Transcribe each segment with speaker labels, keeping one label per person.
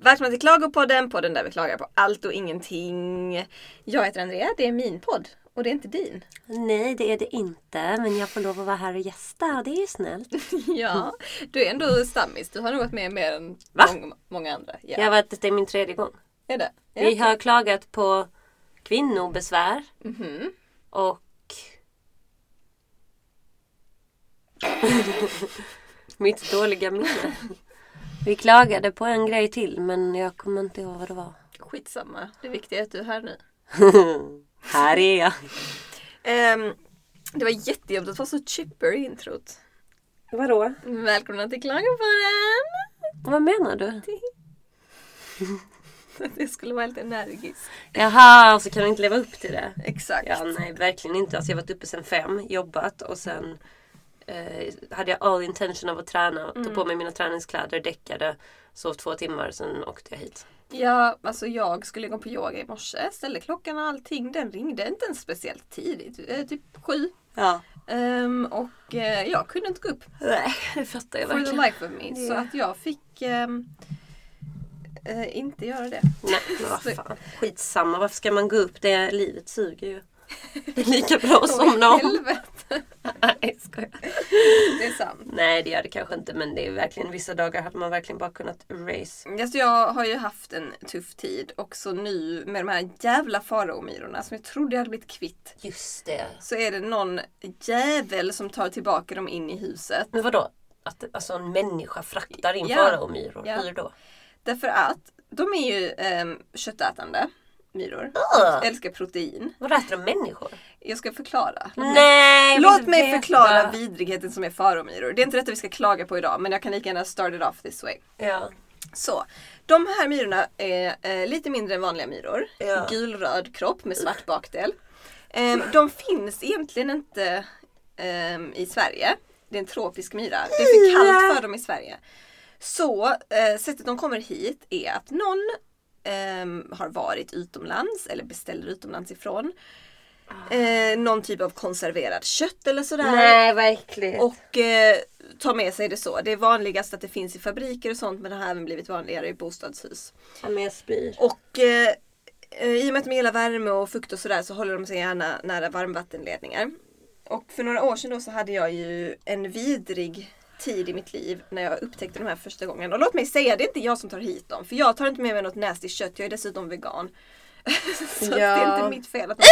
Speaker 1: Välkomna till Klagopodden, podden där vi klagar på allt och ingenting. Jag heter Andrea, det är min podd och det är inte din.
Speaker 2: Nej, det är det inte. Men jag får lov att vara här och gästa och det är ju snällt.
Speaker 1: Ja, du är ändå stammis. Du har nog varit med mer än
Speaker 2: Va?
Speaker 1: många, många andra. Ja,
Speaker 2: Jag har varit, det är min tredje gång.
Speaker 1: är det? Ja.
Speaker 2: Vi har klagat på kvinnobesvär
Speaker 1: Mhm.
Speaker 2: och mitt dåliga minne. Vi klagade på en grej till men jag kommer inte ihåg vad det var.
Speaker 1: Skitsamma, det viktiga är att du är här nu.
Speaker 2: här är jag.
Speaker 1: Ehm, det var jättejobbigt att vara så chipper i introt.
Speaker 2: Vadå?
Speaker 1: Välkomna till Klagopodden!
Speaker 2: Vad menar du?
Speaker 1: Att jag skulle vara lite energisk.
Speaker 2: Jaha, och så kan du inte leva upp till det.
Speaker 1: Exakt.
Speaker 2: Ja, nej verkligen inte. Alltså, jag har varit uppe sen fem, jobbat och sen eh, hade jag all intention av att träna. Tog
Speaker 1: Mm.
Speaker 2: på mig mina träningskläder, däckade, sov två timmar, sen åkte jag hit.
Speaker 1: Ja, alltså jag skulle gå på yoga i morse, ställde klockan och allting. Den ringde inte ens speciellt tidigt, eh, typ sju.
Speaker 2: Ja.
Speaker 1: Ehm, och eh, jag kunde inte gå upp
Speaker 2: Nej, det fattar jag
Speaker 1: for the
Speaker 2: verkligen.
Speaker 1: life of me. Så
Speaker 2: Ja.
Speaker 1: att jag fick ehm, eh, inte göra det.
Speaker 2: Nej, men vad fan. Skitsamma, varför ska man gå upp? Det livet suger ju. Det är lika bra att somna
Speaker 1: Åh,
Speaker 2: om.
Speaker 1: helvete.
Speaker 2: Nej, skojar.
Speaker 1: Det är sant.
Speaker 2: Nej, det gör det kanske inte. Men det är verkligen, vissa dagar hade man verkligen bara kunnat erase.
Speaker 1: Alltså jag har ju haft en tuff tid och så nu med de här jävla faraomyrorna som jag trodde jag hade blivit kvitt.
Speaker 2: Just det.
Speaker 1: Så är det någon jävel som tar tillbaka dem in i huset.
Speaker 2: Men vadå? Att alltså, en människa fraktar in
Speaker 1: Ja.
Speaker 2: faraomyror?
Speaker 1: Ja.
Speaker 2: Hur då?
Speaker 1: Därför att de är ju ehm, köttätande myror.
Speaker 2: Ugh.
Speaker 1: Älskar protein.
Speaker 2: Vad äter de människor?
Speaker 1: Jag ska förklara. Låt mig-
Speaker 2: Nej!
Speaker 1: Låt mig förklara vidrigheten som är faromyror. Det är inte detta vi ska klaga på idag men jag kan lika gärna start it off this way.
Speaker 2: Ja.
Speaker 1: Så, de här myrorna är eh, lite mindre än vanliga myror.
Speaker 2: Ja.
Speaker 1: Gulröd kropp med svart bakdel. Ehm, de finns egentligen inte ehm, i Sverige. Det är en tropisk myra. Det är för kallt för dem i Sverige. Så eh, sättet de kommer hit är att någon ehm, har varit utomlands eller beställer utomlands ifrån. Eh, någon typ av konserverad kött eller sådär.
Speaker 2: Ah. Nej, verkligen.
Speaker 1: Och eh, ta med sig det så. Det är vanligast att det finns i fabriker och sånt men det har även blivit vanligare i bostadshus.
Speaker 2: Ja, men jag spyr.
Speaker 1: Och eh, eh, i och med att de gillar värme och fukt och sådär så håller de sig gärna nära varmvattenledningar. Och för några år sedan då så hade jag ju en vidrig tid i mitt liv när jag upptäckte de här första gången. Och låt mig säga, det är inte jag som tar hit dem. För jag tar inte med mig något nasty kött, jag är dessutom vegan. så att det är
Speaker 2: Ja.
Speaker 1: inte mitt fel att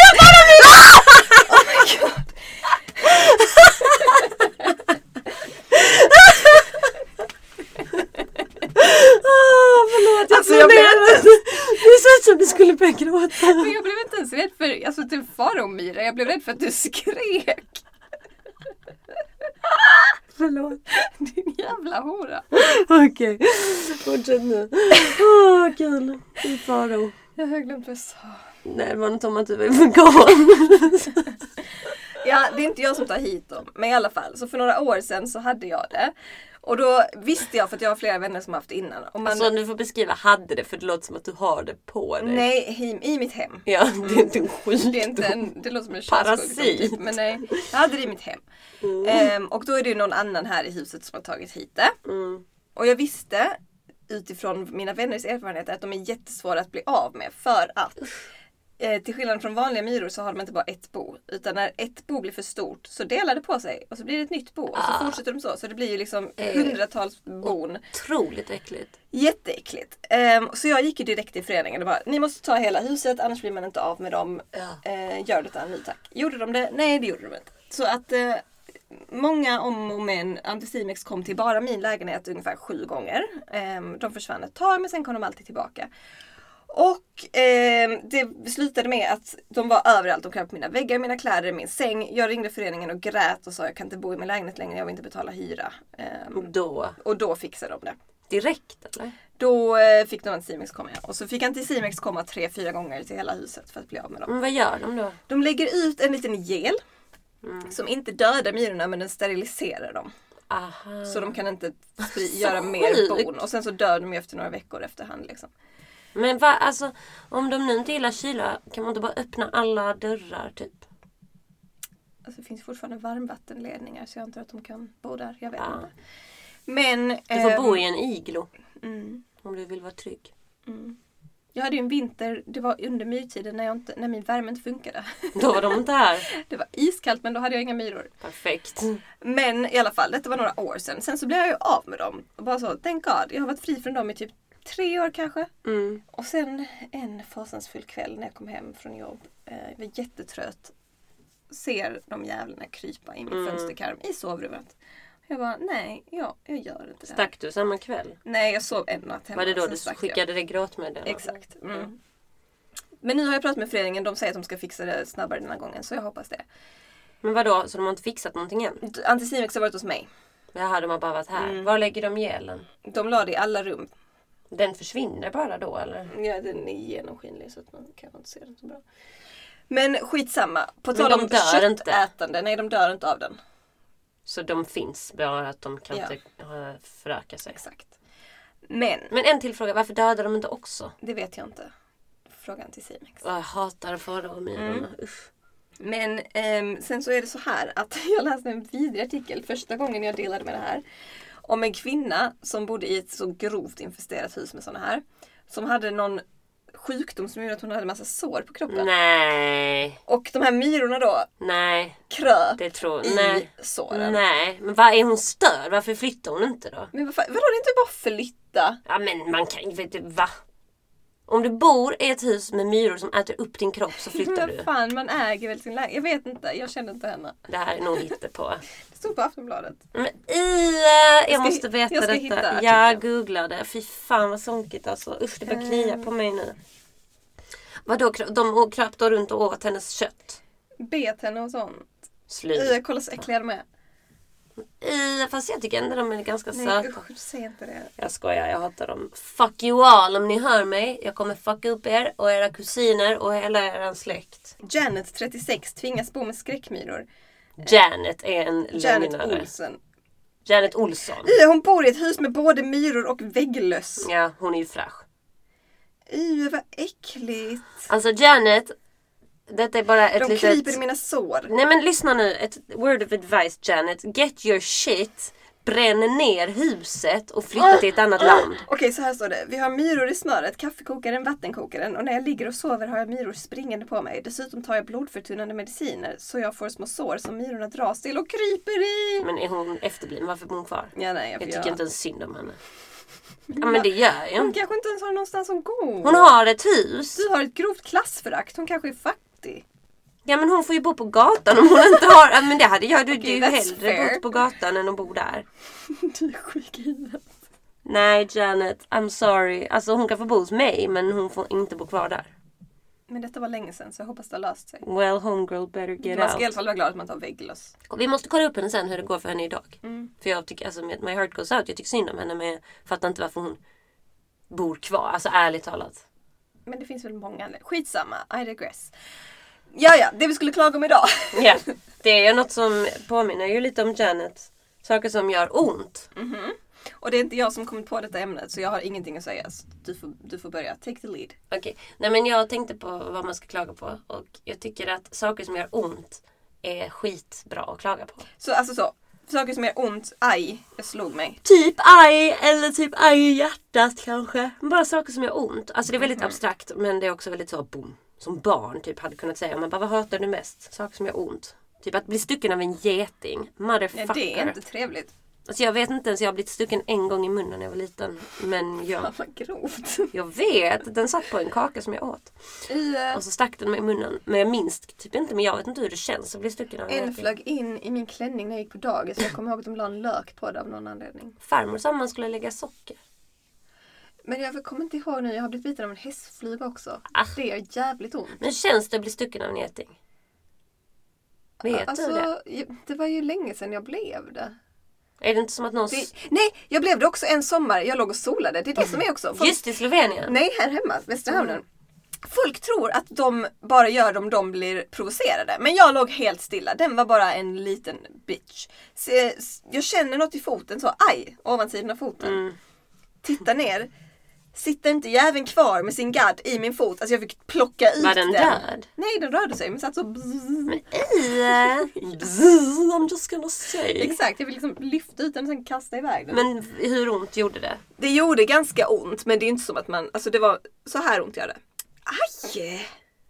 Speaker 2: Ah, förlåt, jag
Speaker 1: Alltså,
Speaker 2: trodde
Speaker 1: jag blev-
Speaker 2: jag... Det såg ut som du skulle börja gråta.
Speaker 1: Men jag blev inte ens rädd för alltså, typ faromyra, jag blev rädd för att du skrek.
Speaker 2: Förlåt.
Speaker 1: Din jävla hora.
Speaker 2: Okej, fortsätt nu. Åh, kul. I faro.
Speaker 1: Jag har glömt vad jag sa.
Speaker 2: Nej, det var något om att du var vegan.
Speaker 1: Ja, det är inte jag som tar hit dem. Men i alla fall, så för några år sedan så hade jag det. Och då visste jag, för att jag har flera vänner som har haft det innan. Och man,
Speaker 2: Alltså, du får beskriva hade det för det låter som att du har det på dig.
Speaker 1: nej, i, i mitt hem.
Speaker 2: Ja, det är inte en sjukdom.
Speaker 1: Det, är inte en, det låter som en
Speaker 2: Parasit.
Speaker 1: könssjukdom, Typ, men nej, jag hade det i mitt hem. Ehm, och då är det ju någon annan här i huset som har tagit hit det.
Speaker 2: Mm.
Speaker 1: Och jag visste utifrån mina vänners erfarenheter att de är jättesvåra att bli av med för att eh, till skillnad från vanliga myror så har de inte bara ett bo. Utan när ett bo blir för stort så delar det på sig och så blir det ett nytt bo. Och så fortsätter de så. Så det blir ju liksom hundratals bon.
Speaker 2: Otroligt äckligt.
Speaker 1: Jätteäckligt. Ehm, så jag gick ju direkt till föreningen och bara ni måste ta hela huset annars blir man inte av med dem.
Speaker 2: Ja.
Speaker 1: Eh, gör det utan ny tack. Gjorde de det? Nej det gjorde de inte. Så att eh, många om och men Anticimex kom till bara min lägenhet ungefär sju gånger. Ehm, de försvann ett tag men sen kom de alltid tillbaka. Och ehm, det slutade med att de var överallt. De kröp på mina väggar, mina kläder, min säng. Jag ringde föreningen och grät och sa jag kan inte bo i min lägenhet längre, jag vill inte betala hyra. Ehm,
Speaker 2: Då?
Speaker 1: och då fixade de det.
Speaker 2: Direkt eller?
Speaker 1: Då eh, fick de Anticimex komma igen. Och så fick Anticimex komma tre, fyra gånger till hela huset för att bli av med dem.
Speaker 2: Men vad gör de då?
Speaker 1: De lägger ut en liten gel
Speaker 2: Mm.
Speaker 1: som inte dödar myrorna men den steriliserar dem.
Speaker 2: Aha.
Speaker 1: Så de kan inte spri- göra mer
Speaker 2: sjukt.
Speaker 1: bon. Och sen så dör de ju efter några veckor efterhand. Liksom.
Speaker 2: Men va, alltså, om de nu inte gillar kyla, kan man inte bara öppna alla dörrar typ?
Speaker 1: Alltså, det finns fortfarande varmvattenledningar så jag antar att de kan bo där. Jag vet
Speaker 2: Ja.
Speaker 1: inte. Men...
Speaker 2: Du får
Speaker 1: ehm,
Speaker 2: bo i en iglo
Speaker 1: mm,
Speaker 2: om du vill vara trygg.
Speaker 1: mm. Jag hade ju en vinter, det var under myrtiden när, jag inte, när min värme inte funkade.
Speaker 2: Då var de inte här.
Speaker 1: Det var iskallt men då hade jag inga myror.
Speaker 2: Perfekt.
Speaker 1: Men i alla fall, detta var några år sedan. Sen så blev jag ju av med dem. Och bara så, thank God. Jag har varit fri från dem i typ tre år kanske.
Speaker 2: Mm.
Speaker 1: Och sen en fasansfull kväll när jag kom hem från jobb. Eh, jag var jättetrött. Ser de jävlarna krypa i min
Speaker 2: Mm.
Speaker 1: fönsterkarm i sovrummet. Jag bara, nej, ja, jag gör inte det. här."
Speaker 2: Stack du samma kväll?
Speaker 1: Nej, jag sov en natt hemma.
Speaker 2: Var det då
Speaker 1: sen
Speaker 2: du
Speaker 1: stack jag.
Speaker 2: skickade det gråtmeddelandet?
Speaker 1: Exakt. Mm. Men nu har jag pratat med föreningen. De säger att de ska fixa det snabbare den här gången. Så jag hoppas det.
Speaker 2: Men vadå, så de har inte fixat någonting än?
Speaker 1: Antisimex har varit hos mig.
Speaker 2: Jaha, de har bara varit här.
Speaker 1: Mm.
Speaker 2: Var lägger de gelen?
Speaker 1: De la det i alla rum
Speaker 2: Den försvinner bara då eller?
Speaker 1: Ja, den är genomskinlig så att man kanske inte ser den så bra. Men skitsamma. På
Speaker 2: Men
Speaker 1: tal
Speaker 2: de
Speaker 1: om
Speaker 2: dör inte.
Speaker 1: köttätande. Nej, de dör inte av den.
Speaker 2: Så de finns, bara att de kan
Speaker 1: Ja.
Speaker 2: inte eh, föröka sig.
Speaker 1: Exakt. Men,
Speaker 2: Men en till fråga, varför dödar de inte också?
Speaker 1: det vet jag inte. Frågan till Simex.
Speaker 2: Åh, jag hatar fadadermyrorna. Mm. Usch.
Speaker 1: Men ehm, sen så är det så här att jag läste en vidrig artikel första gången jag delade med det här. Om en kvinna som bodde i ett så grovt infesterat hus med såna här. Som hade någon sjukdom som gjorde att hon hade massa sår på kroppen.
Speaker 2: Nej,
Speaker 1: Och de här myrorna då
Speaker 2: nej,
Speaker 1: kröp
Speaker 2: det tror
Speaker 1: i
Speaker 2: Nej.
Speaker 1: såren.
Speaker 2: Nej, men vad är hon störd? Varför flyttar hon inte då?
Speaker 1: Men vad fan, vadå, det är inte bara flytta?
Speaker 2: Ja men man kan ju, vet du, va? Om du bor i ett hus med myror som äter upp din kropp så flyttar
Speaker 1: Men
Speaker 2: du.
Speaker 1: fan, man äger väl sin lägenhet? Jag vet inte, jag känner inte henne.
Speaker 2: Det här är nog hittepå.
Speaker 1: Det stod på Aftonbladet.
Speaker 2: Men i, jag,
Speaker 1: ska-
Speaker 2: måste veta
Speaker 1: jag ska hitta
Speaker 2: detta.
Speaker 1: artikeln.
Speaker 2: Jag googlade. Fy fan vad sunkigt alltså. Usch det börjar klia på mig nu. Vadå, kra- de kröp då runt och åt hennes kött?
Speaker 1: Bet henne och sånt.
Speaker 2: Slut.
Speaker 1: Ia, kolla så äckliga de är.
Speaker 2: I, fast jag tycker ändå de är ganska
Speaker 1: Nej
Speaker 2: söta.
Speaker 1: usch, säg inte det.
Speaker 2: Jag skojar, jag hatar dem. Fuck you all om ni hör mig. Jag kommer fucka upp er och era kusiner och hela er släkt.
Speaker 1: Janet, 36, tvingas bo med skräckmyror.
Speaker 2: Janet är en
Speaker 1: Janet
Speaker 2: lögnare.
Speaker 1: Olsen.
Speaker 2: Janet Olsson.
Speaker 1: Ia, hon bor i ett hus med både myror och vägglöss.
Speaker 2: Ja, hon är ju fräsch.
Speaker 1: Ia, vad äckligt.
Speaker 2: Alltså Janet, detta är bara ett
Speaker 1: De
Speaker 2: litet...
Speaker 1: kryper i mina sår.
Speaker 2: Nej men lyssna nu, ett word of advice Janet. Get your shit, bränn ner huset och flytta till ett annat land.
Speaker 1: Okej, så här står det. Vi har myror i smöret, kaffekokaren, vattenkokaren och när jag ligger och sover har jag myror springande på mig. Dessutom tar jag blodförtunnande mediciner så jag får små sår som myrorna dras till och kryper i.
Speaker 2: Men är hon efterbliven? Varför bor hon kvar?
Speaker 1: Ja, nej, jag,
Speaker 2: Jag
Speaker 1: får
Speaker 2: tycker
Speaker 1: göra.
Speaker 2: inte ens synd om henne. Ja men det gör jag
Speaker 1: Hon
Speaker 2: inte.
Speaker 1: kanske inte ens har någonstans att gå.
Speaker 2: Hon har ett hus.
Speaker 1: Du har ett grovt klassförakt. Hon kanske är fattig.
Speaker 2: Ja men hon får ju bo på gatan om hon inte har... Ja, men det hade jag. Du,
Speaker 1: Okej,
Speaker 2: du
Speaker 1: that's
Speaker 2: hellre
Speaker 1: fair.
Speaker 2: bott på gatan än att bo där.
Speaker 1: du är sjuk i huvudet.
Speaker 2: Nej Janet, I'm sorry. Alltså hon kan få bo hos mig men hon får inte bo kvar där.
Speaker 1: Men detta var länge sedan så jag hoppas det har löst sig.
Speaker 2: Well homegirl better get
Speaker 1: Man ska i
Speaker 2: out.
Speaker 1: alla fall vara glad att man tar vägglöss.
Speaker 2: Och Vi måste kolla upp henne sen hur det går för henne idag.
Speaker 1: Mm.
Speaker 2: För jag tycker, alltså med My Heart Goes Out, jag tycker synd om henne men jag fattar inte varför hon bor kvar. Alltså ärligt talat.
Speaker 1: Men det finns väl många anledningar. Skitsamma, I regress. Ja, ja, det vi skulle klaga om idag.
Speaker 2: Ja, det är något som påminner ju lite om Janet. Saker som gör ont.
Speaker 1: Och det är inte jag som kommit på detta ämnet så jag har ingenting att säga. Så Du får, du får börja. Take the lead.
Speaker 2: Okej, nej men jag tänkte på vad man ska klaga på och jag tycker att saker som gör ont är skitbra att klaga på.
Speaker 1: Så alltså så. Saker som gör ont. Aj, jag slog mig.
Speaker 2: Typ arg eller typ arg i hjärtat kanske. Bara saker som gör ont. Alltså det är väldigt abstrakt men det är också väldigt så boom. Som barn typ hade kunnat säga. Man bara vad hatar du mest? Saker som gör ont. Typ att bli stucken av en geting. Motherfucker.
Speaker 1: Ja, det är inte trevligt.
Speaker 2: Alltså jag vet inte ens, jag har blivit stucken en gång i munnen när jag var liten. Men jag,
Speaker 1: Fan vad grovt.
Speaker 2: jag vet, den satt på en kaka som jag åt.
Speaker 1: I, eh,
Speaker 2: Och så stack den mig i munnen. Men jag minns typ inte, men jag vet inte hur det känns att bli stucken av
Speaker 1: En
Speaker 2: en geting.
Speaker 1: flög in i min klänning när jag gick på dagis. Jag kommer ihåg att de la en lök på det av någon anledning.
Speaker 2: Farmor sa att man skulle lägga socker.
Speaker 1: Men jag kommer inte ihåg nu. Jag har blivit biten av en hästfluga också.
Speaker 2: Ah.
Speaker 1: Det gör jävligt ont.
Speaker 2: Men känns det att bli stucken av en geting? Vet
Speaker 1: alltså,
Speaker 2: du det?
Speaker 1: jag- det var ju länge sedan jag blev det.
Speaker 2: Är det inte som att någon...
Speaker 1: det. Nej, jag blev det också en sommar. Jag låg och solade. Det är det som är också. Folk,
Speaker 2: Just i Slovenien!
Speaker 1: Nej, här hemma. Västra hamnen.
Speaker 2: Mm.
Speaker 1: Folk tror att de bara gör det om de blir provocerade. Men jag låg helt stilla. Den var bara en liten bitch. Så, s- jag känner något i foten så, aj, ovansidan av foten.
Speaker 2: Mm.
Speaker 1: Titta ner. Sitter inte jäveln kvar med sin gadd i min fot? Alltså jag fick plocka ut
Speaker 2: Var den död?
Speaker 1: Nej, den rörde sig men satt så...
Speaker 2: Nej! Bzzz, I'm just gonna say.
Speaker 1: Exakt, jag fick liksom lyfta ut den och sen kasta iväg den.
Speaker 2: Men hur ont gjorde det?
Speaker 1: Det gjorde ganska ont men det är inte som att man, alltså det var så här ont gör det. Aj!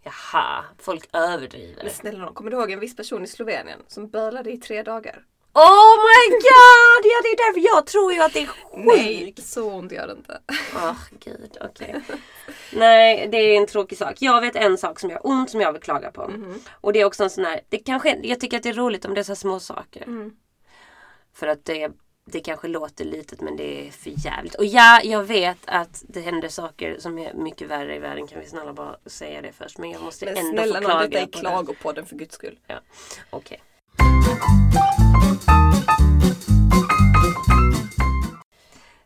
Speaker 2: Jaha, folk överdriver.
Speaker 1: Men snälla nån, kommer du ihåg en viss person i Slovenien som bölade i tre dagar?
Speaker 2: Oh my god! Ja, det är därför jag tror ju att det är
Speaker 1: Nej,
Speaker 2: sjukt.
Speaker 1: så ont gör det inte.
Speaker 2: Åh gud, okej. Nej, det är en tråkig sak. Jag vet en sak som gör ont som jag vill klaga på.
Speaker 1: Mhm.
Speaker 2: Och det är också en sån här, det kanske, jag tycker att det är roligt om det är så här små saker.
Speaker 1: Mm.
Speaker 2: För att det, det kanske låter litet men det är för jävligt. Och ja, jag vet att det händer saker som är mycket värre i världen. Kan vi snälla bara säga det först? Men jag måste
Speaker 1: Men
Speaker 2: ändå
Speaker 1: snälla
Speaker 2: få
Speaker 1: nån,
Speaker 2: klaga
Speaker 1: detta är
Speaker 2: på det.
Speaker 1: klagopodden för guds skull.
Speaker 2: Ja, okej.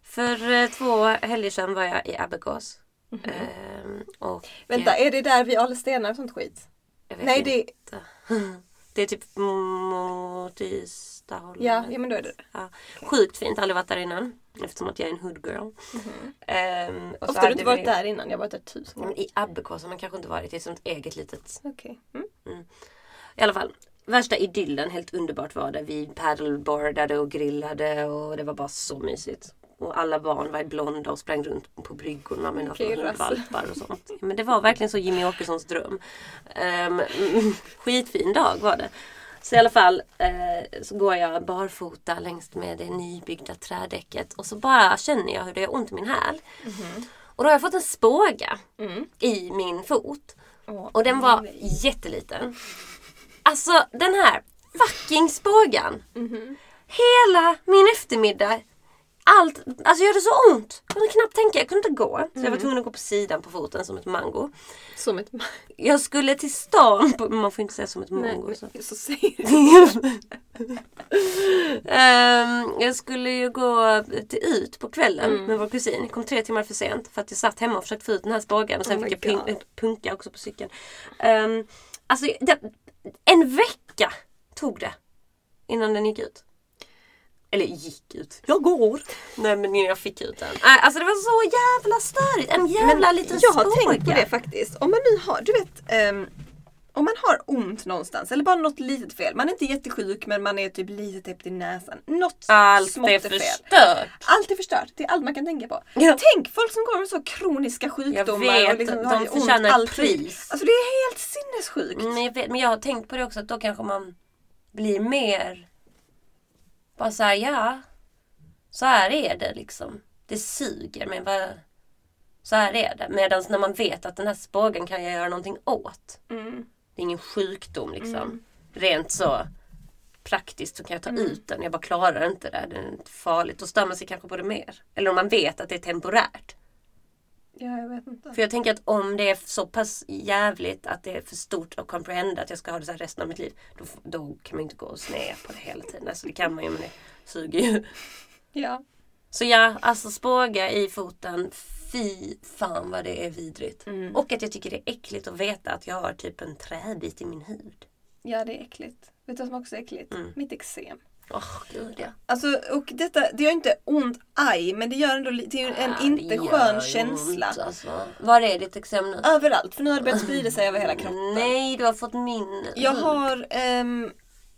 Speaker 2: För eh, två helger sedan var jag i Abbekås. Ehm, och
Speaker 1: Mhm. Vänta, är det där vi ala stenar och sånt skit?
Speaker 2: jag vet
Speaker 1: Nej,
Speaker 2: inte.
Speaker 1: det...
Speaker 2: Det är typ mot Ystadhållet.
Speaker 1: Ja, ja, men då är det det.
Speaker 2: Ja. Sjukt fint, aldrig varit där innan. Eftersom att jag är en hood girl. Ehm, och så
Speaker 1: Mhm. Ofta har
Speaker 2: hade
Speaker 1: du inte
Speaker 2: vi-
Speaker 1: varit där innan, jag har varit där tusen gånger.
Speaker 2: Men I Abbekås har man kanske inte varit i ett sånt eget litet
Speaker 1: Okej. Mm.
Speaker 2: I alla fall. Värsta idyllen, helt underbart var det. Vi paddleboardade och grillade och det var bara så mysigt. Och alla barn var blonda och sprang runt på bryggorna med
Speaker 1: Okej,
Speaker 2: några
Speaker 1: Lasse.
Speaker 2: valpar och sånt. Men det var verkligen så Jimmy Åkessons dröm. Ehm, skitfin dag var det. Så i alla fall eh, så går jag barfota längs med det nybyggda trädäcket och så bara känner jag hur det gör ont i min häl. Och då har jag fått en spåga i min fot.
Speaker 1: Åh,
Speaker 2: och den var jätteliten. Alltså den här fucking spågan.
Speaker 1: mhm.
Speaker 2: Hela min eftermiddag. Allt, alltså gör det så ont. Jag kunde knappt tänka, jag kunde inte gå. Så jag var tvungen att gå på sidan på foten som ett mango.
Speaker 1: Som ett...
Speaker 2: Jag skulle till stan, på, man får inte säga som ett mango. Så.
Speaker 1: Så säger du.
Speaker 2: Ehm, jag skulle ju gå till ut på kvällen
Speaker 1: Mm.
Speaker 2: med vår kusin. Jag kom tre timmar för sent för att jag satt hemma och försökte få ut den här spagan och sen
Speaker 1: Oh my
Speaker 2: fick jag
Speaker 1: God.
Speaker 2: pun- punka också på cykeln. Ehm, alltså det, en vecka tog det innan den gick ut. Eller gick ut. Jag går! Nej men innan jag fick ut den. Nej, alltså det var så jävla störigt. En jävla liten
Speaker 1: jag
Speaker 2: spaga.
Speaker 1: har tänkt på det faktiskt. Om man nu har, du vet, ehm, om man har ont någonstans eller bara något litet fel. Man är inte jättesjuk men man är typ lite täppt i näsan. Något
Speaker 2: Allt
Speaker 1: smått
Speaker 2: är
Speaker 1: är fel.
Speaker 2: förstört.
Speaker 1: Allt är förstört, det är allt man kan tänka på.
Speaker 2: Ja.
Speaker 1: Tänk folk som går med så kroniska sjukdomar.
Speaker 2: vet,
Speaker 1: och liksom
Speaker 2: de
Speaker 1: har ont
Speaker 2: förtjänar ett
Speaker 1: alltid.
Speaker 2: pris.
Speaker 1: Alltså det är helt sinnessjukt.
Speaker 2: Mm, Men jag, vet, men jag har tänkt på det också att då kanske man blir mer bara såhär, ja. Så här är det liksom. Det suger men vad, så här är det. Medan när man vet att den här spågen kan jag göra någonting åt. Det är ingen sjukdom liksom. Rent så praktiskt så kan jag ta ut den. Jag bara klarar inte det. Det är inte farligt. Då stör man sig kanske på det mer. Eller om man vet att det är temporärt.
Speaker 1: Ja, jag vet inte.
Speaker 2: För jag tänker att om det är så pass jävligt att det är för stort att comprehenda att jag ska ha det så här resten av mitt liv. Då, f- då kan man ju inte gå och snea på det hela tiden. Alltså det kan man ju men det suger ju.
Speaker 1: Ja.
Speaker 2: Så ja, alltså spåga i foten. Fy fan vad det är vidrigt.
Speaker 1: Mm.
Speaker 2: Och att jag tycker det är äckligt att veta att jag har typ en träbit i min hud.
Speaker 1: ja, det är äckligt. Vet du vad som också är äckligt?
Speaker 2: Mm.
Speaker 1: Mitt eksem.
Speaker 2: Åh gud ja.
Speaker 1: Alltså, och detta, det gör inte ont, aj, men det gör ändå li- det är ju en
Speaker 2: Ah, Det
Speaker 1: inte
Speaker 2: gör
Speaker 1: skön
Speaker 2: ju
Speaker 1: känsla.
Speaker 2: Ont, alltså. Var är ditt exempel nu?
Speaker 1: Överallt, för nu har det börjat sprida sig över hela kroppen.
Speaker 2: Nej, du har fått min.
Speaker 1: Jag har... ehm,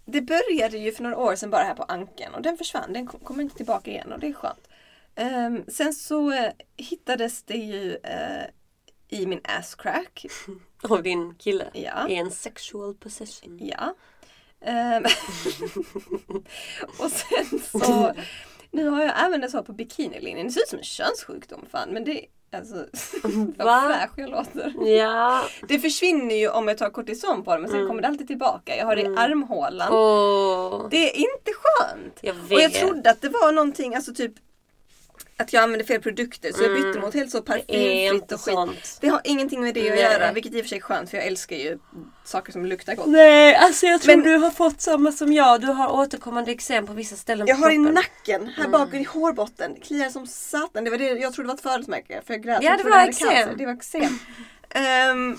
Speaker 1: det började ju för några år sedan bara här på ankeln och den försvann. Den kom- kommer inte tillbaka igen och det är skönt. Ehm, sen så eh, hittades det ju eh, i min ass crack.
Speaker 2: Av din kille.
Speaker 1: Ja.
Speaker 2: I en sexual possession.
Speaker 1: Ja. Ehm, och sen så... Nu har jag även det så här på bikinilinjen. Det ser ut som en könssjukdom fan men det... Alltså,
Speaker 2: Va?
Speaker 1: vad fräsch jag låter.
Speaker 2: Ja.
Speaker 1: Det försvinner ju om jag tar kortison på det men sen kommer det alltid tillbaka. Jag har det i armhålan.
Speaker 2: Mm. Åh.
Speaker 1: Det är inte skönt.
Speaker 2: Jag
Speaker 1: Och jag
Speaker 2: vet.
Speaker 1: trodde att det var någonting, alltså typ att jag använde fel produkter så jag bytte mot helt så
Speaker 2: Mm. Det är
Speaker 1: parfymfritt
Speaker 2: inte
Speaker 1: och skit.
Speaker 2: sånt.
Speaker 1: Det har ingenting med det att
Speaker 2: Nej.
Speaker 1: göra, vilket i och för sig är skönt för jag älskar ju saker som luktar gott.
Speaker 2: Nej, alltså jag tror
Speaker 1: Men-
Speaker 2: du har fått samma som jag. Du har återkommande eksem på vissa ställen
Speaker 1: Jag
Speaker 2: på
Speaker 1: har i
Speaker 2: kroppen.
Speaker 1: nacken, här
Speaker 2: Mm.
Speaker 1: bak i hårbotten, Det kliar som satan. Det var det jag trodde var ett förlossmärke för jag grät.
Speaker 2: Ja,
Speaker 1: Jag
Speaker 2: det
Speaker 1: trodde
Speaker 2: var
Speaker 1: jag hade
Speaker 2: eksem.
Speaker 1: cancer. Det var eksem. Ehm,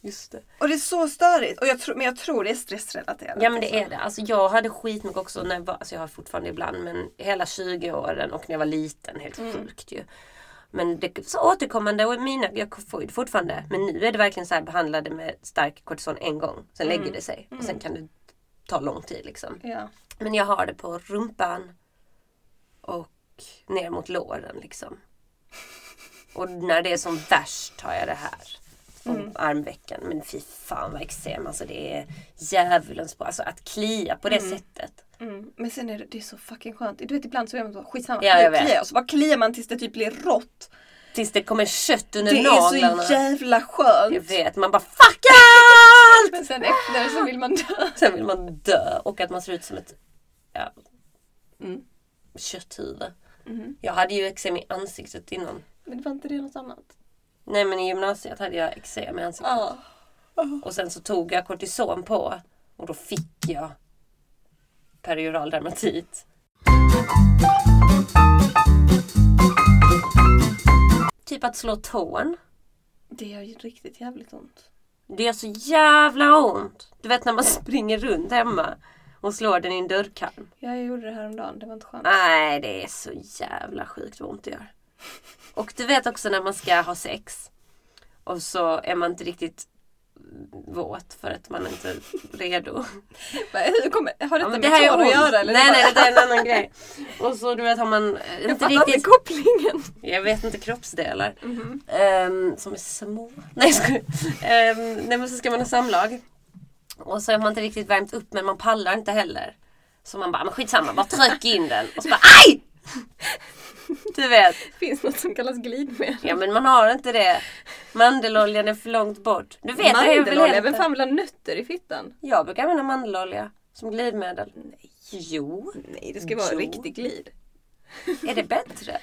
Speaker 2: Just det.
Speaker 1: och det är så störigt. Och jag tror- men jag tror det är stressrelaterat.
Speaker 2: Ja men det är det. Alltså jag hade skitmycket också när jag
Speaker 1: Mm.
Speaker 2: var, alltså jag har fortfarande ibland men hela 20 åren och när jag var liten, helt sjukt ju. Men det är så återkommande och i mina, jag får ju det fortfarande. Men nu är det verkligen så här behandlade med stark kortison en gång. Sen
Speaker 1: Mm.
Speaker 2: lägger det sig och sen kan det ta lång tid liksom.
Speaker 1: Ja.
Speaker 2: Men jag har det på rumpan och ner mot låren liksom. Och när det är som värst har jag det här. På
Speaker 1: Mm.
Speaker 2: armvecken. Men fy fan vad eksem. Alltså det är djävulens bra. Alltså att klia på det sättet.
Speaker 1: Mm. Men sen är det, det är så fucking skönt. Du vet ibland så är man så skitsamma.
Speaker 2: Ja, jag
Speaker 1: nu kliar
Speaker 2: vet.
Speaker 1: Och så bara kliar man tills det typ blir rått.
Speaker 2: Tills det kommer kött under
Speaker 1: Det
Speaker 2: naglarna.
Speaker 1: är så jävla skönt.
Speaker 2: Jag vet. Man bara FUCK ALLT!
Speaker 1: Men sen efter så vill man dö.
Speaker 2: Sen vill man dö och att man ser ut som ett ja,
Speaker 1: Mm.
Speaker 2: kötthuvud. Jag hade ju eksem i ansiktet innan.
Speaker 1: Men var inte det något annat?
Speaker 2: Nej men i gymnasiet hade jag eksem i ansiktet.
Speaker 1: Ja.
Speaker 2: Och sen så tog jag kortison på och då fick jag perioral dermatit. Typ att slå tån.
Speaker 1: Det gör ju riktigt jävligt ont.
Speaker 2: Det gör så jävla ont. Du vet när man springer runt hemma och slår den i en dörrkarm.
Speaker 1: Ja, jag gjorde det häromdagen. Det var inte
Speaker 2: Ah.
Speaker 1: skönt.
Speaker 2: Nej, det är så jävla sjukt vad ont det gör. Och du vet också när man ska ha sex och så är man inte riktigt våt för att man inte är redo.
Speaker 1: Men Hur kommer, har detta
Speaker 2: Ja, men
Speaker 1: med
Speaker 2: det här
Speaker 1: tår
Speaker 2: är
Speaker 1: att
Speaker 2: ont.
Speaker 1: göra? Eller
Speaker 2: nej,
Speaker 1: Det
Speaker 2: nej,
Speaker 1: bara-
Speaker 2: det är en annan grej. Och så du vet har man eh,
Speaker 1: Jag
Speaker 2: inte
Speaker 1: fattar inte
Speaker 2: riktigt...
Speaker 1: kopplingen.
Speaker 2: Jag vet inte kroppsdelar. Ehm, som är små. Nej, jag skojar. Ehm, nej men så ska man ha samlag. Och så har man inte riktigt värmt upp men man pallar inte heller. Så man bara, men skitsamma, bara tryck in den. Och så bara, AJ! Du vet.
Speaker 1: Finns något som kallas glidmedel?
Speaker 2: Ja men man har inte det. Mandeloljan är för långt bort. Du vet, det är väl
Speaker 1: Mandelolja?
Speaker 2: helt-
Speaker 1: Vem fan vill ha nötter i fittan?
Speaker 2: Jag brukar använda mandelolja som glidmedel.
Speaker 1: Nej.
Speaker 2: Jo,
Speaker 1: Nej, det ska vara
Speaker 2: Jo.
Speaker 1: riktig glid.
Speaker 2: är det bättre?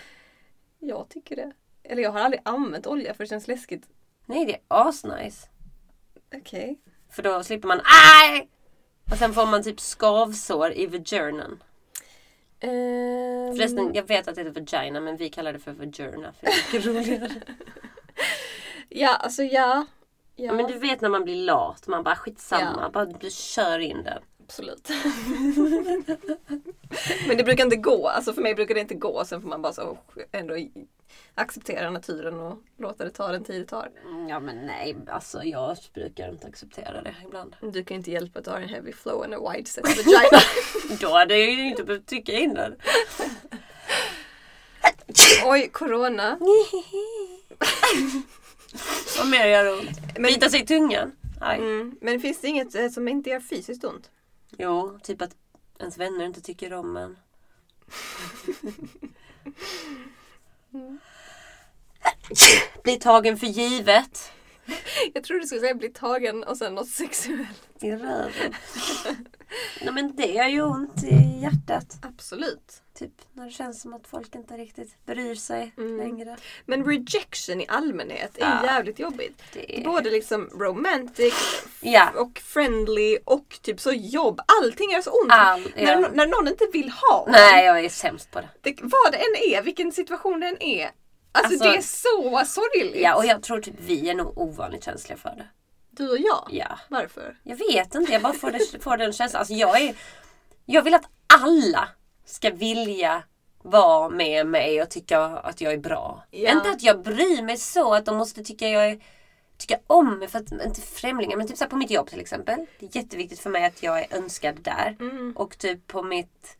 Speaker 1: Jag tycker det. Eller jag har aldrig använt olja för det känns läskigt.
Speaker 2: Nej, det är asnice.
Speaker 1: Okej.
Speaker 2: För då slipper man aj! Och sen får man typ skavsår i vaginan.
Speaker 1: Ehm,
Speaker 2: Förresten, jag vet att det heter vagina men vi kallar det för vagina för det är mycket roligare.
Speaker 1: Ja, alltså ja. Ja,
Speaker 2: Men du vet när man blir lat, man bara skitsamma,
Speaker 1: Ja.
Speaker 2: bara du kör in den.
Speaker 1: absolut. Men det brukar inte gå. Alltså för mig brukar det inte gå. Sen får man bara så ändå i- acceptera naturen och låta det ta den tid det tar.
Speaker 2: Mm, Ja men nej, alltså jag brukar inte acceptera det ibland.
Speaker 1: Du kan ju inte hjälpa att du har en heavy flow and a wide set vagina.
Speaker 2: Då hade jag ju inte behövt trycka in den.
Speaker 1: Oj, corona.
Speaker 2: Vad mer gör ont?
Speaker 1: Men-
Speaker 2: Bita sig i tungan? Aj.
Speaker 1: Mm. Men finns det inget eh, som inte gör fysiskt ont?
Speaker 2: Jo, typ att ens vänner inte tycker om en. Bli tagen för givet.
Speaker 1: Jag trodde du skulle säga bli tagen och sen något sexuellt.
Speaker 2: I röven. Nej men det gör ju ont i hjärtat.
Speaker 1: Absolut.
Speaker 2: Typ när det känns som att folk inte riktigt bryr sig längre.
Speaker 1: Men rejection i allmänhet är
Speaker 2: Ja.
Speaker 1: jävligt jobbigt.
Speaker 2: Det är...
Speaker 1: Både liksom romantic
Speaker 2: Ja.
Speaker 1: och friendly och typ så jobb. Allting gör så ont.
Speaker 2: All-
Speaker 1: när,
Speaker 2: ja.
Speaker 1: när någon inte vill ha
Speaker 2: Nej, jag är sämst på det.
Speaker 1: det, vad det än är, vilken situation det än är. Alltså,
Speaker 2: Alltså-
Speaker 1: det är så sorgligt.
Speaker 2: Ja, och jag tror typ vi är nog ovanligt känsliga för det.
Speaker 1: Du och jag.
Speaker 2: Ja.
Speaker 1: Varför?
Speaker 2: Jag vet inte, jag bara får, det, får den känslan. Alltså jag, är, jag vill att alla ska vilja vara med mig och tycka att jag är bra.
Speaker 1: Ja.
Speaker 2: Inte att jag bryr mig så att de måste tycka jag är, tycka om mig för att, inte främlingar, men typ så här på mitt jobb till exempel. Det är jätteviktigt för mig att jag är önskad där.
Speaker 1: Mm.
Speaker 2: Och typ på mitt,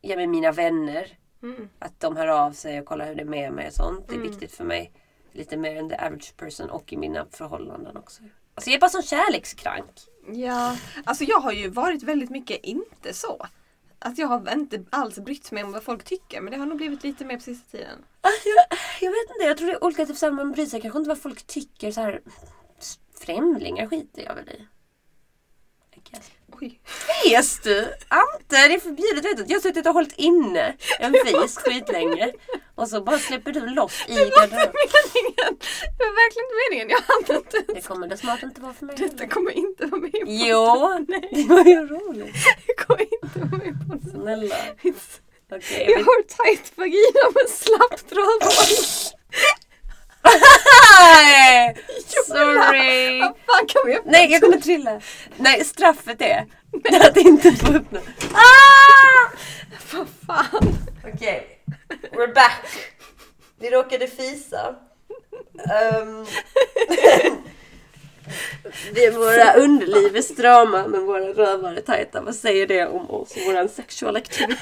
Speaker 2: ja med mina vänner.
Speaker 1: Mm.
Speaker 2: Att de hör av sig och kollar hur det är med mig och sånt. Det är viktigt för mig. Lite mer än the average person och i mina förhållanden också. Alltså jag är bara sån kärlekskrank.
Speaker 1: Ja. Alltså jag har ju varit väldigt mycket inte så. Att jag har inte alls brytt mig om vad folk tycker men det har nog blivit lite mer på sista tiden.
Speaker 2: Alltså, jag, jag vet inte, jag tror det är olika. Typ, såhär, man bryr sig kanske inte vad folk tycker. Så här, främlingar skiter jag väl i. I guess.
Speaker 1: Oj.
Speaker 2: Fes du? Ante, det är förbjudet. Vet du. Jag har suttit och hållit inne en fis skitlänge. Och så bara släpper du loss i garderoben.
Speaker 1: Meningen! Det var verkligen inte meningen. Jag hann inte.
Speaker 2: Det kommer det snart inte vara för mig.
Speaker 1: Detta
Speaker 2: heller.
Speaker 1: kommer inte vara med i podden.
Speaker 2: Jo,
Speaker 1: Nej,
Speaker 2: det var ju roligt.
Speaker 1: det kommer inte vara med i podden.
Speaker 2: Snälla. Okej,
Speaker 1: Jag
Speaker 2: vi-
Speaker 1: har tight vagina men slappt rövhål.
Speaker 2: Nej! Sorry!
Speaker 1: Vad fan kan vi öppna?
Speaker 2: Nej, jag kommer trilla. Nej, straffet är att inte få öppna. Ah!
Speaker 1: Vad fan?
Speaker 2: Okej, we're back. Vi råkade fisa. Ehm, det är våra underliv är strama men våra rövar är tajta. Vad säger det om oss och våran sexual activity?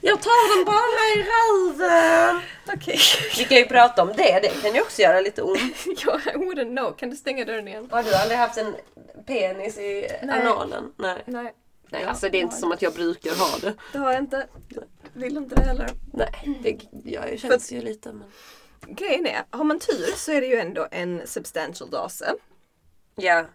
Speaker 2: Jag tar den bara i röven!
Speaker 1: Okej.
Speaker 2: Vi kan ju prata om det. Det kan ju också göra lite ont.
Speaker 1: Jag I wouldn't know. Kan du stänga dörren igen?
Speaker 2: Har du aldrig haft en penis i
Speaker 1: Nej.
Speaker 2: analen? Nej.
Speaker 1: Nej.
Speaker 2: Nej, alltså det är inte som att jag brukar ha det.
Speaker 1: Det har jag inte. Vill inte det heller.
Speaker 2: Nej, det jag känns ju lite men...
Speaker 1: Grejen är, har man tur så är det ju ändå en substantial dose.
Speaker 2: Ja.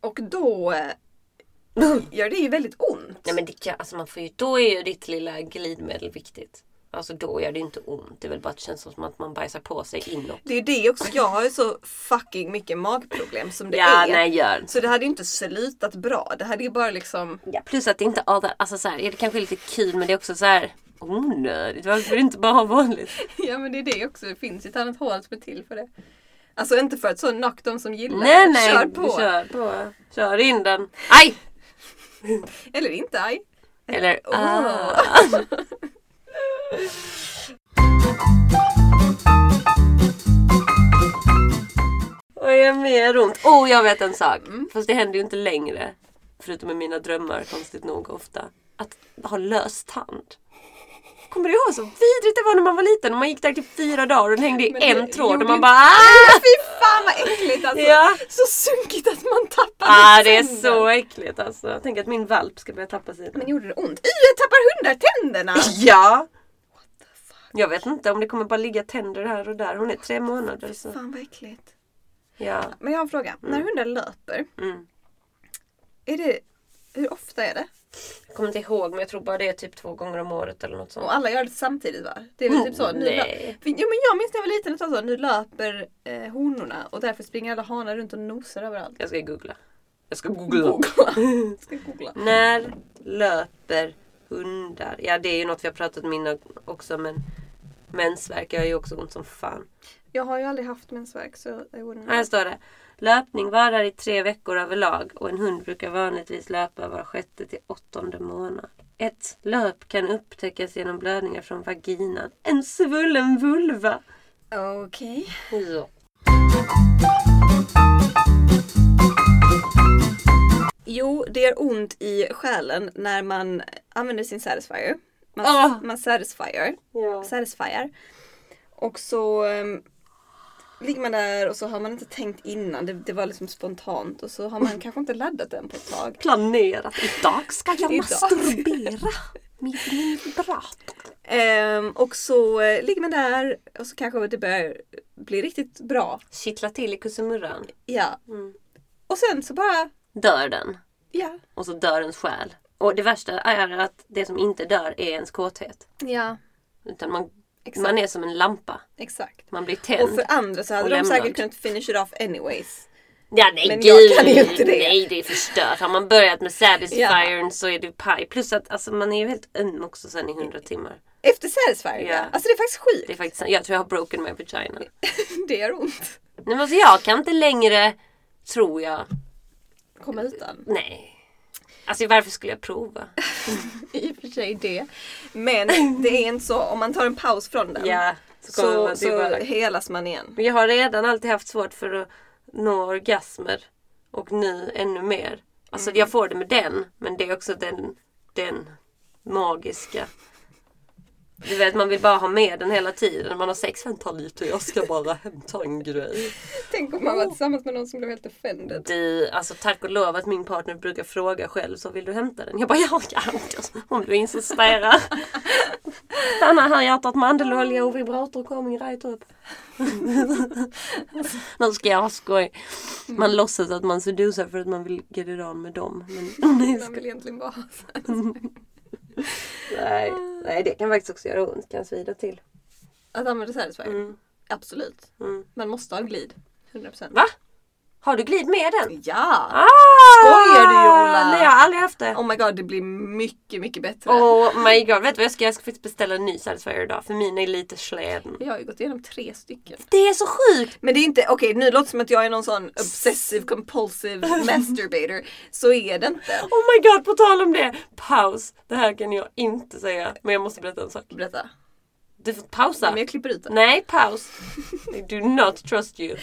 Speaker 1: Och då eh, gör det ju väldigt ont.
Speaker 2: Nej men det kan, alltså man får ju, då är ju ditt lilla glidmedel viktigt. Alltså då gör det ju inte ont. Det är väl bara att det känns som att man bajsar på sig inåt.
Speaker 1: Det är ju det också. Jag har ju så fucking mycket magproblem som det
Speaker 2: Ja,
Speaker 1: är.
Speaker 2: nej gör.
Speaker 1: Så det hade ju inte slutat bra. Det hade ju bara liksom...
Speaker 2: Ja, plus att det inte all that, alltså så här, ja, det kanske är lite kul men det är också så här onödigt. Varför inte bara ha vanligt?
Speaker 1: Ja men det är det också. Det finns ju ett annat hål som är till för det. Alltså inte för att så knock de som gillar
Speaker 2: Nej
Speaker 1: det.
Speaker 2: nej,
Speaker 1: Kör på!
Speaker 2: kör på. Kör in den. Aj!
Speaker 1: Eller inte, aj.
Speaker 2: Eller
Speaker 1: Åh.
Speaker 2: ah. Och jag är mer ont. Oh, jag vet en sak.
Speaker 1: Mm.
Speaker 2: Fast det händer ju inte längre. Förutom i mina drömmar, konstigt nog ofta. Att ha lös tand. Kommer du ihåg så vidrigt det var när man var liten? Och man gick där till fyra dagar och den hängde i
Speaker 1: Men
Speaker 2: en
Speaker 1: det
Speaker 2: tråd
Speaker 1: gjorde
Speaker 2: och man
Speaker 1: ju-
Speaker 2: bara ah!
Speaker 1: Fy fan vad äckligt alltså!
Speaker 2: Ja.
Speaker 1: Så sunkigt att man tappar
Speaker 2: ah, det är
Speaker 1: tänder.
Speaker 2: så äckligt alltså. Tänk att min valp ska börja tappa sina.
Speaker 1: Men gjorde det ont? Y, jag tappar hundar tänderna!
Speaker 2: Ja! Jag vet inte om det kommer bara ligga tänder här och där. Hon är tre månader så.
Speaker 1: Fan vad äckligt.
Speaker 2: Ja.
Speaker 1: Men jag har en fråga. När hundar löper,
Speaker 2: Mm.
Speaker 1: är det, hur ofta är det?
Speaker 2: Jag kommer inte ihåg men jag tror bara det är typ två gånger om året eller något sånt.
Speaker 1: Och alla gör det samtidigt va? Det är väl typ så? Nu lö-
Speaker 2: Nej.
Speaker 1: För- Jo men jag minns när jag var liten att det var så, nu löper eh, honorna och därför springer alla hanar runt och nosar överallt.
Speaker 2: Jag ska googla. Jag ska googla.
Speaker 1: Googla. Ska jag googla.
Speaker 2: När löper hundar? Ja det är ju något vi har pratat om innan också men mensvärk gör ju också ont som fan.
Speaker 1: Jag har ju aldrig haft mensvärk så I wouldn't know.
Speaker 2: Här står det. Löpning varar i tre veckor överlag och en hund brukar vanligtvis löpa var sjätte till åttonde månad. Ett löp kan upptäckas genom blödningar från vaginan. En svullen vulva.
Speaker 1: Ah, Okej.
Speaker 2: Ja.
Speaker 1: Jo, det gör ont i själen när man använder sin satisfier. Man,
Speaker 2: Ah.
Speaker 1: man satisfier.
Speaker 2: Ja.
Speaker 1: satisfier. Och så ehm, ligger man där och så har man inte tänkt innan. Det, det var liksom spontant och så har man kanske inte laddat den på ett tag.
Speaker 2: Planerat. Idag ska jag
Speaker 1: Idag.
Speaker 2: masturbera. Med min vibrator.
Speaker 1: Ehm, och så eh, ligger man där och så kanske det börjar bli riktigt bra.
Speaker 2: Kittla till i kussemurran.
Speaker 1: Ja.
Speaker 2: Mm.
Speaker 1: Och sen så bara,
Speaker 2: Dör den.
Speaker 1: ja.
Speaker 2: Och så dör ens själ. Och det värsta är att det som inte dör är ens kåthet.
Speaker 1: Ja,
Speaker 2: Utan man,
Speaker 1: Exakt.
Speaker 2: man är som en lampa.
Speaker 1: exakt.
Speaker 2: Man blir tänd.
Speaker 1: Och för andra så hade
Speaker 2: Och
Speaker 1: de
Speaker 2: lämnad.
Speaker 1: säkert kunnat finish it off anyways.
Speaker 2: Ja nej
Speaker 1: Men
Speaker 2: gud,
Speaker 1: jag kan ju inte det.
Speaker 2: nej det är förstört. Har man börjat med Satisfiern
Speaker 1: Ja.
Speaker 2: så är det paj. Plus att alltså, man är ju helt öm också sen i hundra timmar.
Speaker 1: Efter satisfier,
Speaker 2: Ja.
Speaker 1: ja. Alltså det är faktiskt sjukt.
Speaker 2: Det är faktiskt, jag tror jag har broken my vagina. Nej,
Speaker 1: det gör ont.
Speaker 2: men alltså, jag kan inte längre, tror jag.
Speaker 1: Komma utan.
Speaker 2: Nej. Alltså varför skulle jag prova?
Speaker 1: I och för sig det. Men det är inte så, om man tar en paus från den.
Speaker 2: Ja, så, kommer
Speaker 1: så,
Speaker 2: man till
Speaker 1: så
Speaker 2: bara-
Speaker 1: helas man igen.
Speaker 2: Men jag har redan alltid haft svårt för att nå orgasmer. Och nu ännu mer. Alltså jag får det med den. Men det är också den, den magiska. Du vet man vill bara ha med den hela tiden. Man har sex, vänta lite jag ska bara hämta en grej.
Speaker 1: Tänk om man var tillsammans med någon som blev helt offended.
Speaker 2: Du, alltså tack och lov att min partner brukar fråga själv så vill du hämta den? Jag bara ja, ja om du insisterar. Stanna här hjärtat mandelolja och vibrator coming right up. nu ska jag ha skoj. Man låtsas att man seducerar för att man vill get it on med dem. Men nej,
Speaker 1: Man
Speaker 2: sko-
Speaker 1: vill egentligen bara ha så här.
Speaker 2: nej, nej, det kan faktiskt också göra ont. Kan svida till.
Speaker 1: Att använda satisfier?
Speaker 2: Mm.
Speaker 1: Absolut.
Speaker 2: Mm.
Speaker 1: Man måste ha en glid. 100%.
Speaker 2: Va? Har du glid med den?
Speaker 1: Ja!
Speaker 2: Ah!
Speaker 1: Skojar du, Ola?
Speaker 2: Nej, jag har aldrig haft det.
Speaker 1: Oh my god, det blir mycket, mycket bättre.
Speaker 2: Oh my god, vet du vad jag ska göra? Jag ska faktiskt beställa en ny satisfier idag för mina är lite sleden.
Speaker 1: Jag har ju gått igenom tre stycken.
Speaker 2: Det är så sjukt!
Speaker 1: Men det är inte, okej nu låter det som att jag är någon sån obsessive compulsive masturbator. Så är det inte.
Speaker 2: Oh my god, på tal om det! Paus! Det här kan jag inte säga, men jag måste berätta en sak.
Speaker 1: Berätta.
Speaker 2: Du får pausa.
Speaker 1: Men jag klipper ut det.
Speaker 2: Nej, paus. I do not trust you.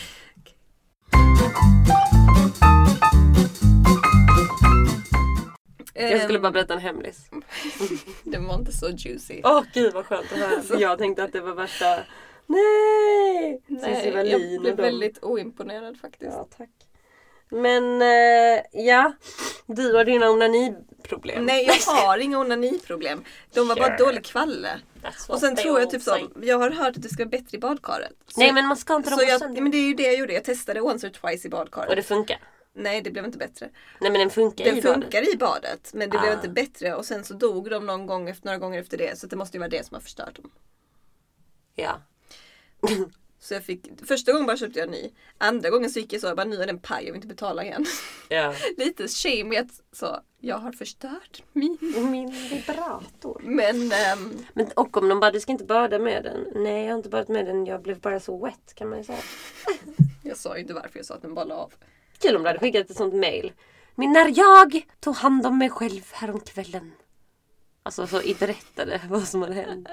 Speaker 2: Jag skulle
Speaker 1: Ehm,
Speaker 2: bara berätta en hemlis.
Speaker 1: Den var inte så juicy.
Speaker 2: Åh gud vad skönt att höra. Jag tänkte att det var värsta... Nej!
Speaker 1: Nej,
Speaker 2: Cissi Wallin
Speaker 1: jag blev
Speaker 2: och dem.
Speaker 1: väldigt oimponerad faktiskt.
Speaker 2: Ja, tack. Men eh, ja, du och dina onaniproblem.
Speaker 1: Nej, jag har inga onaniproblem. De var bara
Speaker 2: Sure.
Speaker 1: dålig kvalle.
Speaker 2: That's what
Speaker 1: Och sen
Speaker 2: they
Speaker 1: tror jag
Speaker 2: all
Speaker 1: typ
Speaker 2: say.
Speaker 1: så, jag har hört att du ska vara bättre i badkaret. Så,
Speaker 2: Nej men man ska inte
Speaker 1: så
Speaker 2: rapa
Speaker 1: jag,
Speaker 2: sönder.
Speaker 1: men det är ju det jag gjorde, jag testade once or twice i
Speaker 2: Och
Speaker 1: badkaret.
Speaker 2: det funkar.
Speaker 1: Nej, det blev inte bättre.
Speaker 2: Nej men den funkar
Speaker 1: Den
Speaker 2: i badet.
Speaker 1: funkar i badet, men det blev
Speaker 2: Ah.
Speaker 1: inte bättre. Och sen så dog de någon gång efter, några gånger efter det, så det måste ju vara det som har förstört dem.
Speaker 2: Ja.
Speaker 1: Så jag fick, första gången bara köpte jag en ny. Andra gången så gick jag så, jag bara nu är den paj, jag vill inte betala igen.
Speaker 2: ja.
Speaker 1: Lite shame i att så, jag har förstört min.
Speaker 2: Min vibrator.
Speaker 1: Men ehm,
Speaker 2: Men, och om de bara, du ska inte bada med den. Nej jag har inte badat med den, jag blev bara så wet kan man ju säga.
Speaker 1: jag sa ju inte varför, jag sa att den bara la av.
Speaker 2: Kul om du hade skickat ett sånt mail. Men när jag tog hand om mig själv häromkvällen. Alltså så i berättade vad som hade hänt.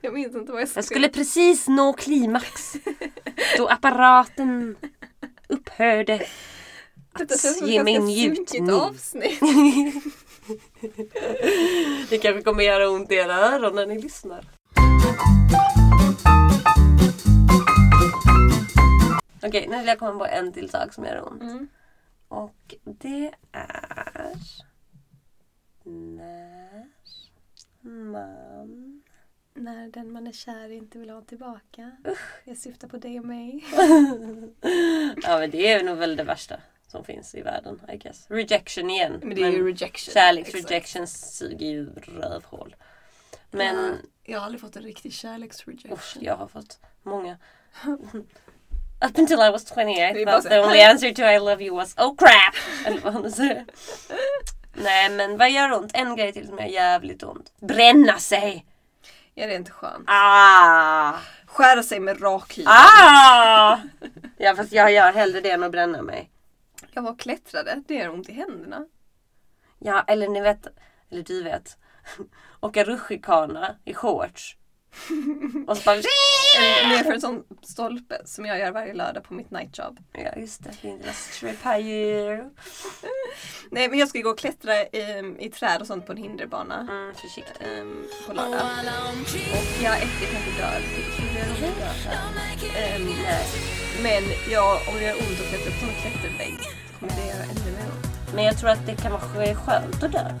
Speaker 1: Jag minns inte vad jag skrev.
Speaker 2: Jag skulle precis nå klimax. Då apparaten upphörde
Speaker 1: Detta känns
Speaker 2: att
Speaker 1: som
Speaker 2: ge
Speaker 1: ett
Speaker 2: mig en
Speaker 1: ganska sunkigt
Speaker 2: njutning.
Speaker 1: avsnitt.
Speaker 2: Det kanske kommer göra ont i era öron när ni lyssnar. Okej, nu vill jag komma på en till sak som gör ont.
Speaker 1: Mm.
Speaker 2: Och det är när man...
Speaker 1: När den man är kär inte vill ha tillbaka. Jag syftar på dig och mig.
Speaker 2: Ja men det är nog väl det värsta som finns i världen, I guess. Rejection igen.
Speaker 1: Men det är ju
Speaker 2: Men
Speaker 1: rejection. Exakt.
Speaker 2: Kärleksrejection suger ju rövhål. Men
Speaker 1: Ja, Jag har aldrig fått en riktig kärleksrejection.
Speaker 2: usch, jag har fått många. Up until I was 28
Speaker 1: Det är bara
Speaker 2: that's
Speaker 1: så
Speaker 2: the
Speaker 1: här,
Speaker 2: only answer to I love you was oh crap! Eller vad han säger. Nej men vad gör ont? En grej till som gör jävligt ont. Bränna sig!
Speaker 1: Ja, det är inte skönt.
Speaker 2: Ah!
Speaker 1: Skära sig med rakhyveln.
Speaker 2: Ah! Ja fast jag gör hellre det än att bränna mig.
Speaker 1: Jag var och klättrade. Det gör ont i händerna.
Speaker 2: Ja, eller ni vet, eller du vet. Åka rutschkana i shorts. Och så bara...
Speaker 1: Nerför en sån stolpe som jag gör varje lördag på mitt nightjob.
Speaker 2: Ja, just det. Din lilla striphajer.
Speaker 1: Nej, men jag ska ju gå och klättra i, i träd och sånt på en hinderbana.
Speaker 2: Mm, försiktigt.
Speaker 1: ehm, på lördag. Och jag äcklig kanske dör. Det tror jag nog dör. Ehm, nej. Men jag, om det gör ont att klättra upp på en klättervägg så kommer det göra ännu mer ont.
Speaker 2: Men jag tror att det kan vara skö- skönt att dö.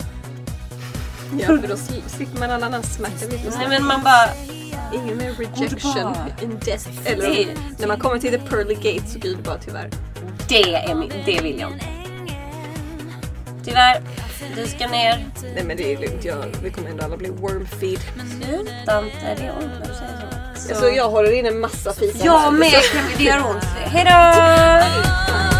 Speaker 1: Ja, för då sl- slipper man all annan smärta. vid
Speaker 2: Nej,
Speaker 1: det.
Speaker 2: men man bara...
Speaker 1: Ingen mer rejection
Speaker 2: Underbar.
Speaker 1: in death. Eller
Speaker 2: Det-
Speaker 1: när man kommer till the pearly gate så blir det bara tyvärr.
Speaker 2: Det är min, det vill jag inte. Tyvärr, du ska ner.
Speaker 1: Nej men det är lugnt, jag, vi kommer ändå alla bli worm feed. Alltså,
Speaker 2: Sluta inte, det är ont när du säger så.
Speaker 1: Så jag håller in en massa fisar. här.
Speaker 2: Jag med, det gör ont. Hejdå!